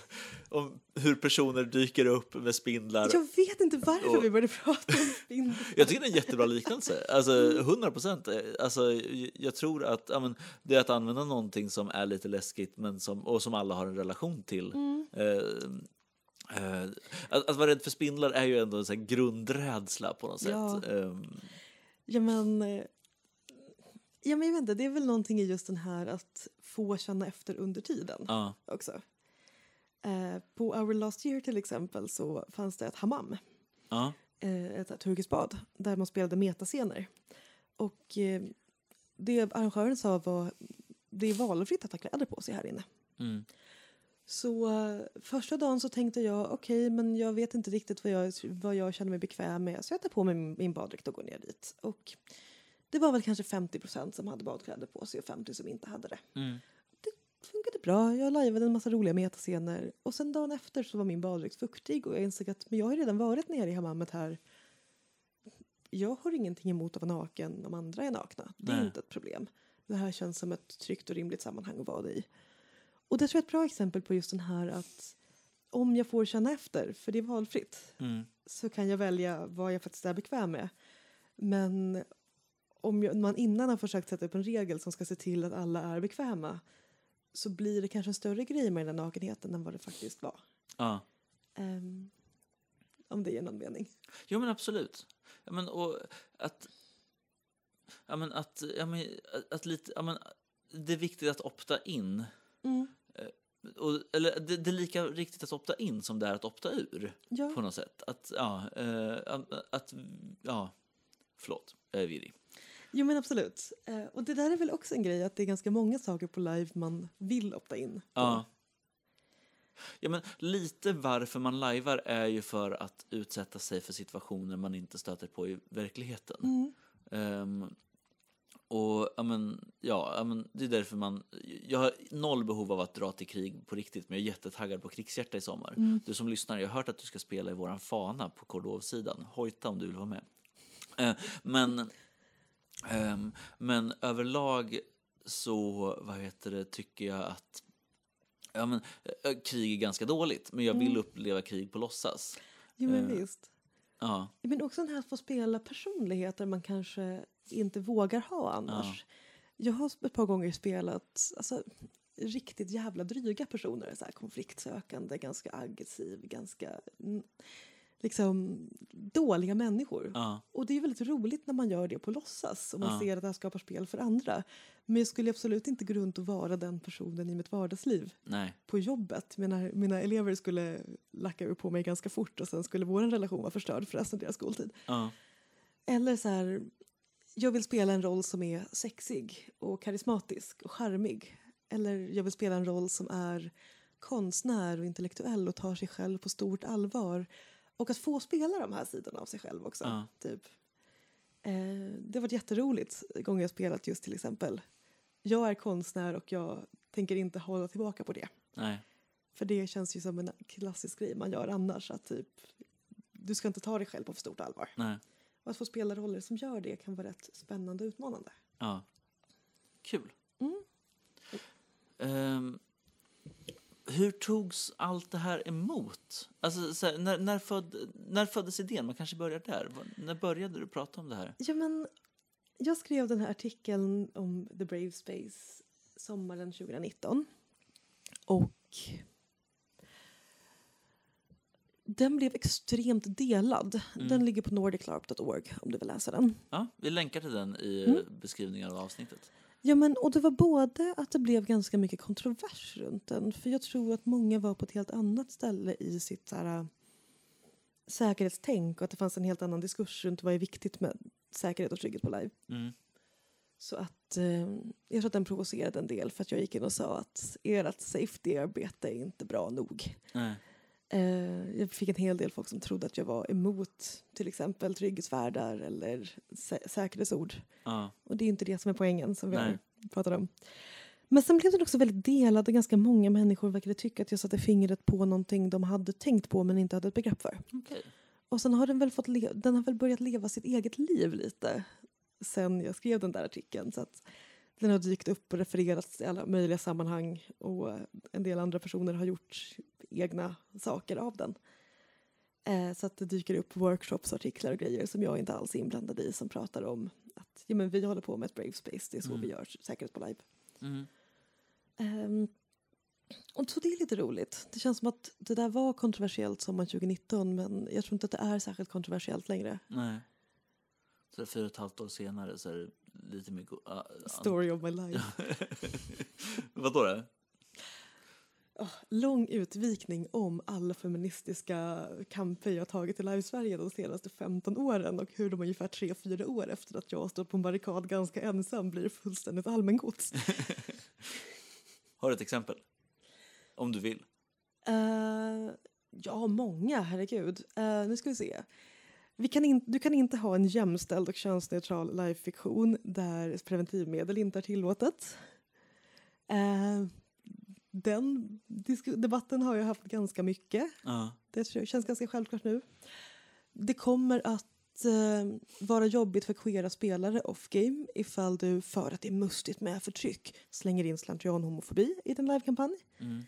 [SPEAKER 2] om hur personer dyker upp med spindlar.
[SPEAKER 1] Jag vet inte varför
[SPEAKER 2] och-
[SPEAKER 1] vi började prata om spindlar.
[SPEAKER 2] Jag tycker det är en jättebra liknelse. Alltså 100 procent. Alltså, j- jag tror att ja, men, det är att använda någonting som är lite läskigt men som, och som alla har en relation till.
[SPEAKER 1] Mm.
[SPEAKER 2] Eh, eh, att, att vara rädd för spindlar är ju ändå en sån här grundrädsla på något sätt.
[SPEAKER 1] Ja.
[SPEAKER 2] Eh,
[SPEAKER 1] Ja, men, eh, ja, men jag vet inte, det är väl någonting i just den här att få känna efter under tiden
[SPEAKER 2] ja,
[SPEAKER 1] också. Eh, på Our Last Year till exempel så fanns det ett hammam.
[SPEAKER 2] ja,
[SPEAKER 1] eh, ett turkiskt bad där man spelade metascener. Och eh, det arrangören sa var det är valfritt att ha kläder på sig här inne.
[SPEAKER 2] mm,
[SPEAKER 1] Så eh, första dagen så tänkte jag okej, men jag vet inte riktigt vad jag, vad jag känner mig bekväm med så jag tar på mig min, min baddräkt och går ner dit. Och det var väl kanske 50 som hade badkläder på sig och 50 som inte hade det.
[SPEAKER 2] mm,
[SPEAKER 1] Det funkade bra, jag lajvade en massa roliga metascener och sen dagen efter så var min baddräkt fuktig och jag insåg att men jag har ju redan varit nere i hammammet här jag har ingenting emot att vara naken om andra är nakna. Det är
[SPEAKER 2] Nej.
[SPEAKER 1] inte ett problem. Det här känns som ett tryggt och rimligt sammanhang att vara i. Och det tror jag är ett bra exempel på just den här att om jag får känna efter, för det är valfritt,
[SPEAKER 2] mm.
[SPEAKER 1] så kan jag välja vad jag faktiskt är bekväm med. Men om jag, man innan har försökt sätta upp en regel som ska se till att alla är bekväma så blir det kanske en större grej med den där nakenheten än vad det faktiskt var.
[SPEAKER 2] ja.
[SPEAKER 1] Ehm, om det ger någon mening.
[SPEAKER 2] Jo, men absolut. Ja, men, och att, ja, men, att, ja, men, att, att lite, ja, men, det är viktigt att opta in.
[SPEAKER 1] Mm.
[SPEAKER 2] Och, eller det, det är lika riktigt att opta in som det är att opta ur.
[SPEAKER 1] Ja.
[SPEAKER 2] På något sätt. Att, ja, eh, att, ja, förlåt, jag är virrig.
[SPEAKER 1] Jo men absolut. Eh, och det där är väl också en grej att det är ganska många saker på live man vill opta in.
[SPEAKER 2] Ja. Ja, men lite varför man lajvar är ju för att utsätta sig för situationer man inte stöter på i verkligheten.
[SPEAKER 1] Mm.
[SPEAKER 2] Ehm, och ja, men, ja, ja, men, det är därför man... Jag har noll behov av att dra till krig på riktigt, men jag är jättetaggad på krigshjärta i sommar.
[SPEAKER 1] Mm.
[SPEAKER 2] Du som lyssnar, jag har hört att du ska spela i våran fana på Kordovsidan. Hojta om du vill vara med. Eh, men, ehm, men överlag så, vad heter det, tycker jag att ja, men, eh, krig är ganska dåligt, men jag vill uppleva krig på låtsas.
[SPEAKER 1] Jo, men visst.
[SPEAKER 2] Ja,
[SPEAKER 1] Men också den här att få spela personligheter man kanske inte vågar ha annars. Jag har ett par gånger spelat alltså, riktigt jävla dryga personer. Så här, konfliktsökande, ganska aggressiv, ganska mm, liksom, dåliga människor.
[SPEAKER 2] ja,
[SPEAKER 1] Och det är ju väldigt roligt när man gör det på låtsas och man
[SPEAKER 2] Ja.
[SPEAKER 1] ser att det här skapar spel för andra. Men jag skulle absolut inte gå runt och vara den personen i mitt vardagsliv
[SPEAKER 2] nej.
[SPEAKER 1] på jobbet. Mina, mina elever skulle lacka ur på mig ganska fort och sen skulle vår relation vara förstörd för resten av deras skoltid.
[SPEAKER 2] Ja,
[SPEAKER 1] Eller så här, jag vill spela en roll som är sexig och karismatisk och charmig. Eller jag vill spela en roll som är konstnär och intellektuell och tar sig själv på stort allvar. Och att få spela de här sidorna av sig själv också.
[SPEAKER 2] Ja.
[SPEAKER 1] Typ. Eh, det har varit jätteroligt gånger jag spelat just till exempel. Jag är konstnär och jag tänker inte hålla tillbaka på det.
[SPEAKER 2] nej.
[SPEAKER 1] För det känns ju som en klassisk grej man gör annars. Att typ, du ska inte ta dig själv på för stort allvar.
[SPEAKER 2] nej.
[SPEAKER 1] Och att få spela roller som gör det kan vara rätt spännande och utmanande.
[SPEAKER 2] Ja. Kul. Ehm, hur togs allt det här emot? Alltså, så här, när, när, född, när föddes idén? Man kanske börjar där. Var- När började du prata om det här?
[SPEAKER 1] Ja, men jag skrev den här artikeln om The Brave Space sommaren 2019. Och den blev extremt delad. Den ligger på nordiclarp.org om du vill läsa den.
[SPEAKER 2] Ja, vi länkar till den i eh, beskrivningen av avsnittet.
[SPEAKER 1] Ja, men, och det var både att det blev ganska mycket kontrovers runt den. För jag tror att många var på ett helt annat ställe i sitt så här, äh, säkerhetstänk och att det fanns en helt annan diskurs runt vad är viktigt med säkerhet och trygghet på live.
[SPEAKER 2] Mm.
[SPEAKER 1] Så att eh, jag tror att den provocerade en del för att jag gick in och sa att ert safety-arbete är inte bra nog.
[SPEAKER 2] Nej.
[SPEAKER 1] Eh, jag fick en hel del folk som trodde att jag var emot till exempel trygghetsvärdar eller sä- säkerhetsord.
[SPEAKER 2] Ja,
[SPEAKER 1] Och det är inte det som är poängen som vi
[SPEAKER 2] Nej.
[SPEAKER 1] pratade om. Men sen blev den också väldigt delad och ganska många människor verkade tycka att jag satte fingret på någonting de hade tänkt på men inte hade ett begrepp för.
[SPEAKER 2] okej.
[SPEAKER 1] Och sen har den väl, fått le- den har väl börjat leva sitt eget liv lite sen jag skrev den där artikeln. Så att den har dykt upp och refererats i alla möjliga sammanhang och en del andra personer har gjort egna saker av den. Eh, så att det dyker upp workshops, artiklar och grejer som jag inte alls är inblandad i som pratar om att ja, men vi håller på med ett Brave Space, det är så vi gör säkerhet på live.
[SPEAKER 2] Mm.
[SPEAKER 1] Ehm, och så det är lite roligt. Det känns som att det där var kontroversiellt sommaren 2019 men jag tror inte att det är särskilt kontroversiellt längre.
[SPEAKER 2] Nej. Så fyra och ett halvt år senare så är det lite mer... go- ah, ah.
[SPEAKER 1] Story of my life.
[SPEAKER 2] Vadå då?
[SPEAKER 1] Lång utvikning om alla feministiska kamper jag tagit i Live-Sverige de senaste 15 åren och hur de ungefär 3-4 år efter att jag har stått på en barrikad ganska ensam blir fullständigt allmängods.
[SPEAKER 2] Har du ett exempel? Om du vill.
[SPEAKER 1] Eh, ja, många, herregud. Eh, nu ska vi se. Vi kan in, du kan inte ha en jämställd och könsneutral livefiktion där preventivmedel inte är tillåtet. Eh, den disku- debatten har jag haft ganska mycket.
[SPEAKER 2] Ja.
[SPEAKER 1] Det tror jag känns ganska självklart nu. Det kommer att eh, vara jobbigt för queera spelare off-game ifall du, för att det är mustigt med förtryck, slänger in slentrian homofobi i din livekampanj.
[SPEAKER 2] Mm.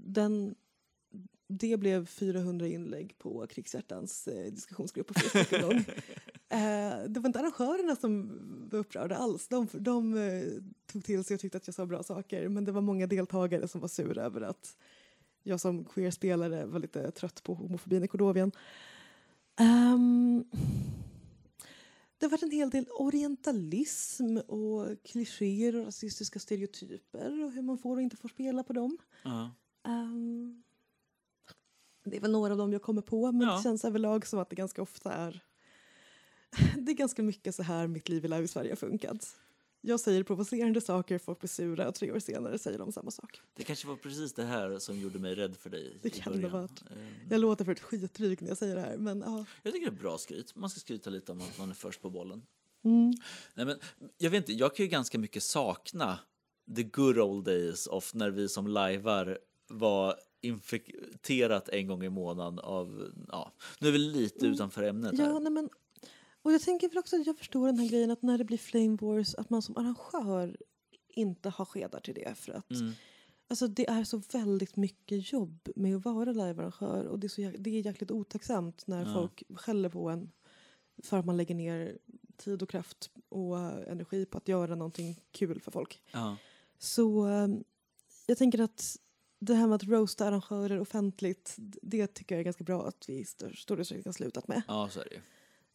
[SPEAKER 1] Den, det blev 400 inlägg på Krigshjärtans eh, diskussionsgrupp på Facebook en gång. Eh, det var inte arrangörerna som var upprörda alls. De, de eh, tog till sig och tyckte att jag sa bra saker. Men det var många deltagare som var sura över att jag som queer-spelare var lite trött på homofobin i Kordovien. Ehm, det har varit en hel del orientalism och klichéer och rasistiska stereotyper och hur man får och inte får spela på dem.
[SPEAKER 2] Ja.
[SPEAKER 1] Ehm, det är väl några av dem jag kommer på, men
[SPEAKER 2] Ja.
[SPEAKER 1] det känns överlag som att det ganska ofta är... Det är ganska mycket så här mitt liv i Live i Sverige har funkat. Jag säger provocerande saker, folk blir sura och tre år senare säger de samma sak.
[SPEAKER 2] Det kanske var precis det här som gjorde mig rädd för dig.
[SPEAKER 1] Det
[SPEAKER 2] i
[SPEAKER 1] kan det ha
[SPEAKER 2] början.
[SPEAKER 1] varit.
[SPEAKER 2] Ehm,
[SPEAKER 1] Jag låter för ett skitdryg när jag säger det här, men ja.
[SPEAKER 2] Jag tycker det är bra skryt. Man ska skryta lite om att man är först på bollen.
[SPEAKER 1] Mm.
[SPEAKER 2] Nej, men, jag vet inte, jag kan ju ganska mycket sakna the good old days of när vi som lajvar var infekterat en gång i månaden av, ja, nu är vi lite utanför ämnet
[SPEAKER 1] Mm. Ja,
[SPEAKER 2] här.
[SPEAKER 1] nej men, och jag tänker väl också att jag förstår den här grejen att när det blir Flame Wars att man som arrangör inte har skedar till det för att alltså, det är så väldigt mycket jobb med att vara livearrangör och det är, så, jäk- det är jäkligt otacksamt när folk skäller på en för att man lägger ner tid och kraft och eh, energi på att göra någonting kul för folk.
[SPEAKER 2] Ja.
[SPEAKER 1] Så eh, jag tänker att det här med att roasta arrangörer offentligt, d- det tycker jag är ganska bra att vi i stör- stor utsträckning har slutat med.
[SPEAKER 2] ja, så är det ju.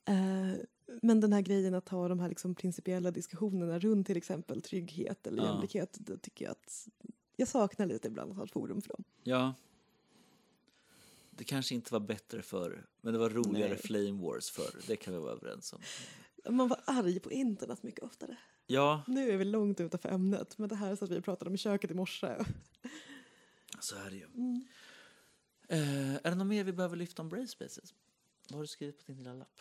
[SPEAKER 1] Eh, men den här grejen att ha de här liksom principiella diskussionerna runt till exempel trygghet eller
[SPEAKER 2] Ja.
[SPEAKER 1] jämlikhet, det tycker jag att jag saknar lite ibland att ha ett forum för dem.
[SPEAKER 2] Ja. Det kanske inte var bättre förr, men det var roligare
[SPEAKER 1] Nej.
[SPEAKER 2] Flame Wars förr. Det kan vi vara överens om.
[SPEAKER 1] Man var arg på internet mycket oftare.
[SPEAKER 2] Ja,
[SPEAKER 1] Nu är vi långt utanför ämnet, men det här satt vi och pratade om i köket i morse.
[SPEAKER 2] så är det ju. Eh, är det något mer vi behöver lyfta om Brave Spaces? Vad har du skrivit på din lilla lapp?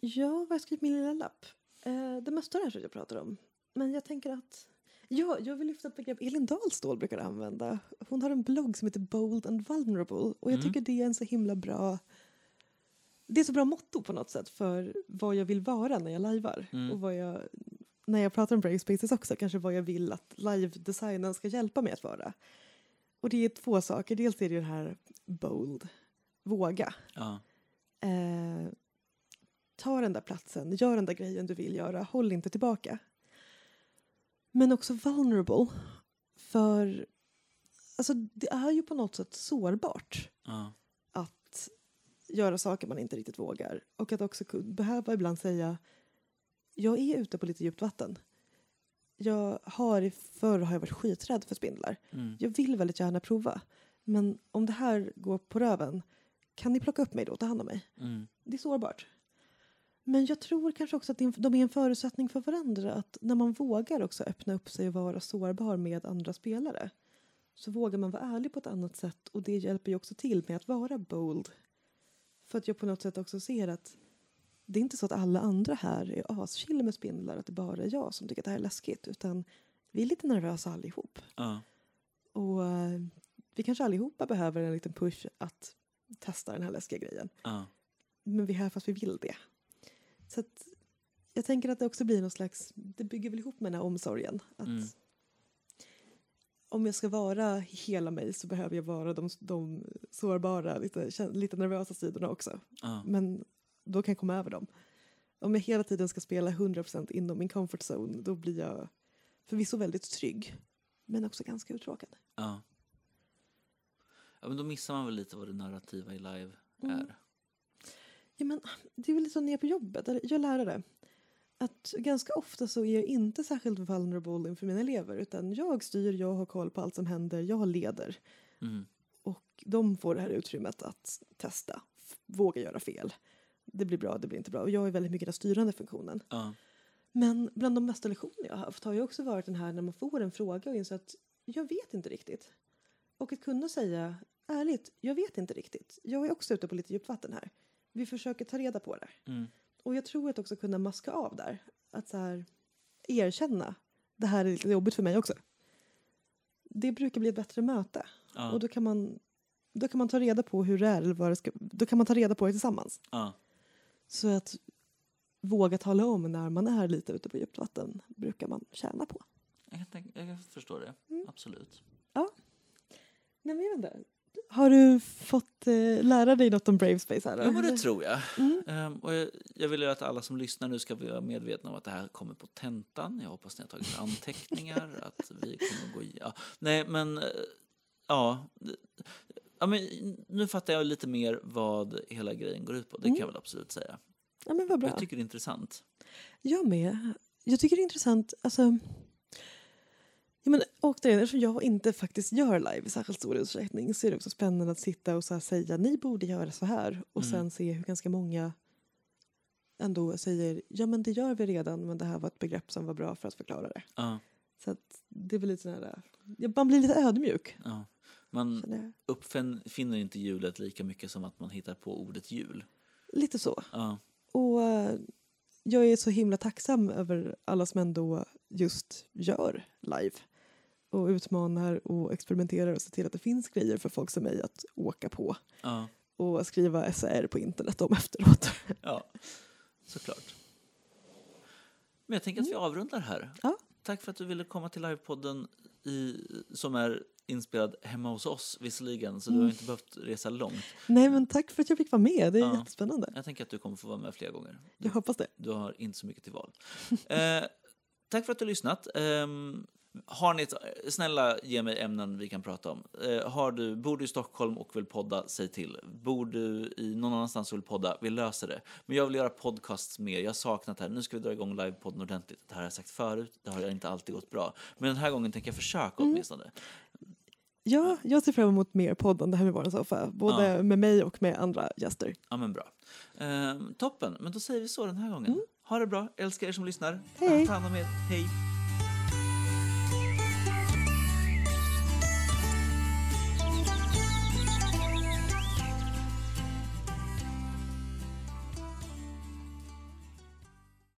[SPEAKER 1] Ja, vad har jag skrivit i min lilla lapp? Eh, det mesta av det här tror jag jag pratar om. Men jag tänker att... Ja, jag vill lyfta ett begrepp Elin Dahlstål brukar använda. Hon har en blogg som heter Bold and Vulnerable och jag tycker det är en så himla bra... Det är så bra motto på något sätt för vad jag vill vara när jag lajvar. Och vad jag, när jag pratar om Brave Spaces också, kanske vad jag vill att live-designen ska hjälpa mig att vara. Och det är två saker. Dels är det ju det här bold, våga
[SPEAKER 2] Ja.
[SPEAKER 1] eh, ta den där platsen, gör den där grejen du vill göra, håll inte tillbaka. Men också vulnerable, för alltså, det är ju på något sätt sårbart
[SPEAKER 2] ja.
[SPEAKER 1] att göra saker man inte riktigt vågar och att också ku- behöva ibland säga jag är ute på lite djupt vatten. Jag har, förr har jag varit skiträdd för spindlar.
[SPEAKER 2] mm,
[SPEAKER 1] Jag vill väldigt gärna prova. Men om det här går på röven, kan ni plocka upp mig då och ta hand om mig?
[SPEAKER 2] Mm.
[SPEAKER 1] det är sårbart. Men jag tror kanske också att det är en- de är en förutsättning för varandra. Att när man vågar också öppna upp sig och vara sårbar med andra spelare så vågar man vara ärlig på ett annat sätt och det hjälper ju också till med att vara bold. För att jag på något sätt också ser att det är inte så att alla andra här är aschill med spindlar, att det bara är jag som tycker att det här är läskigt, utan vi är lite nervösa allihop.
[SPEAKER 2] ja.
[SPEAKER 1] Och eh, vi kanske allihopa behöver en liten push att testa den här läskiga grejen
[SPEAKER 2] ja.
[SPEAKER 1] men vi är här fast vi vill det. Så att jag tänker att det också blir någon slags, det bygger väl ihop med den här omsorgen. Att
[SPEAKER 2] Mm.
[SPEAKER 1] Om jag ska vara hela mig så behöver jag vara de, de sårbara, lite, kän- lite nervösa sidorna också.
[SPEAKER 2] ja.
[SPEAKER 1] Men då kan jag komma över dem. Om jag hela tiden ska spela 100% inom min comfort zone då blir jag förvisso väldigt trygg men också ganska uttråkad.
[SPEAKER 2] ja. ja men då missar man väl lite vad det narrativa i live är.
[SPEAKER 1] Ja, men det är väl lite så när jag är på jobbet, eller jag är lärare. Att ganska ofta så är jag inte särskilt vulnerable inför mina elever utan jag styr, jag har koll på allt som händer, jag leder.
[SPEAKER 2] Mm.
[SPEAKER 1] Och de får det här utrymmet att testa, f- våga göra fel. Det blir bra, det blir inte bra. Och jag är väldigt mycket den styrande funktionen.
[SPEAKER 2] Ja.
[SPEAKER 1] Men bland de mesta lektioner jag har haft har ju också varit den här när man får en fråga och inser att jag vet inte riktigt. Och att kunna säga ärligt, jag vet inte riktigt. Jag är också ute på lite djupt vatten här. Vi försöker ta reda på det.
[SPEAKER 2] Mm.
[SPEAKER 1] Och jag tror att också kunna maska av där. Att så här, erkänna, det här är lite jobbigt för mig också. Det brukar bli ett bättre möte.
[SPEAKER 2] Ja.
[SPEAKER 1] Och då kan, man, då kan man ta reda på hur det är, eller vad det ska, då kan man ta reda på det tillsammans.
[SPEAKER 2] ja.
[SPEAKER 1] Så att våga tala om när man är lite ute på djupt vatten brukar man tjäna på.
[SPEAKER 2] Jag, kan tänka, jag kan förstå det. Absolut.
[SPEAKER 1] Nej, men jag vet inte. Har du fått eh, lära dig något om Brave Space här? då?
[SPEAKER 2] Ja, men det tror jag. Ehm, och jag, jag vill ju att alla som lyssnar nu ska vara medvetna om att det här kommer på tentan. Jag hoppas ni har tagit anteckningar. att vi kommer gå i, ja. Nej, men... eh, Ja, det- ja men, nu fattar jag lite mer vad hela grejen går ut på. Det kan jag väl absolut säga.
[SPEAKER 1] ja, men vad bra.
[SPEAKER 2] Jag tycker det är intressant.
[SPEAKER 1] Jag med. Jag tycker det är intressant. Alltså, ja, men, återigen, eftersom jag inte faktiskt gör live i särskilt stor utsträckning så är det också spännande att sitta och så här säga ni borde göra så här och sen se hur ganska många ändå säger ja men det gör vi redan men det här var ett begrepp som var bra för att förklara det.
[SPEAKER 2] Ja,
[SPEAKER 1] Så att det är väl lite sån här, ja, man blir lite ödmjuk.
[SPEAKER 2] ja. Man
[SPEAKER 1] känner jag.
[SPEAKER 2] uppfinner inte hjulet lika mycket som att man hittar på ordet hjul.
[SPEAKER 1] Lite så.
[SPEAKER 2] Ja,
[SPEAKER 1] Och eh, jag är så himla tacksam över alla som ändå just gör live och utmanar och experimenterar och ser till att det finns grejer för folk som mig att åka på
[SPEAKER 2] Ja,
[SPEAKER 1] och skriva essäer på internet om efteråt.
[SPEAKER 2] ja, såklart. Men jag tänker att vi avrundar här.
[SPEAKER 1] Ja.
[SPEAKER 2] Tack för att du ville komma till livepodden i, som är inspelad hemma hos oss visserligen, så du har inte behövt resa långt.
[SPEAKER 1] Nej men tack för att jag fick vara med, det är
[SPEAKER 2] Ja.
[SPEAKER 1] jättespännande.
[SPEAKER 2] Jag tänker att du kommer få vara med flera gånger.
[SPEAKER 1] Jag hoppas det.
[SPEAKER 2] Du har inte så mycket till val. Eh, tack för att du har lyssnat. Ehm, har ni ett, snälla, ge mig ämnen vi kan prata om. Eh, har du, bor du i Stockholm och vill podda, säg till. Bor du i någon annanstans och vill podda, vi löser det. Men jag vill göra podcasts mer, jag har saknat det här. Nu ska vi dra igång livepodden ordentligt. Det här har jag sagt förut, det har inte alltid gått bra. Men den här gången tänker jag försöka åtminstone.
[SPEAKER 1] Ja, jag ser fram emot mer poddande här i vår soffa, både med mig och med andra gäster.
[SPEAKER 2] Ja, men bra. Ehm, toppen, men då säger vi så den här gången. Ha det bra, älskar er som lyssnar.
[SPEAKER 1] Hej.
[SPEAKER 2] Ta hand om er, hej.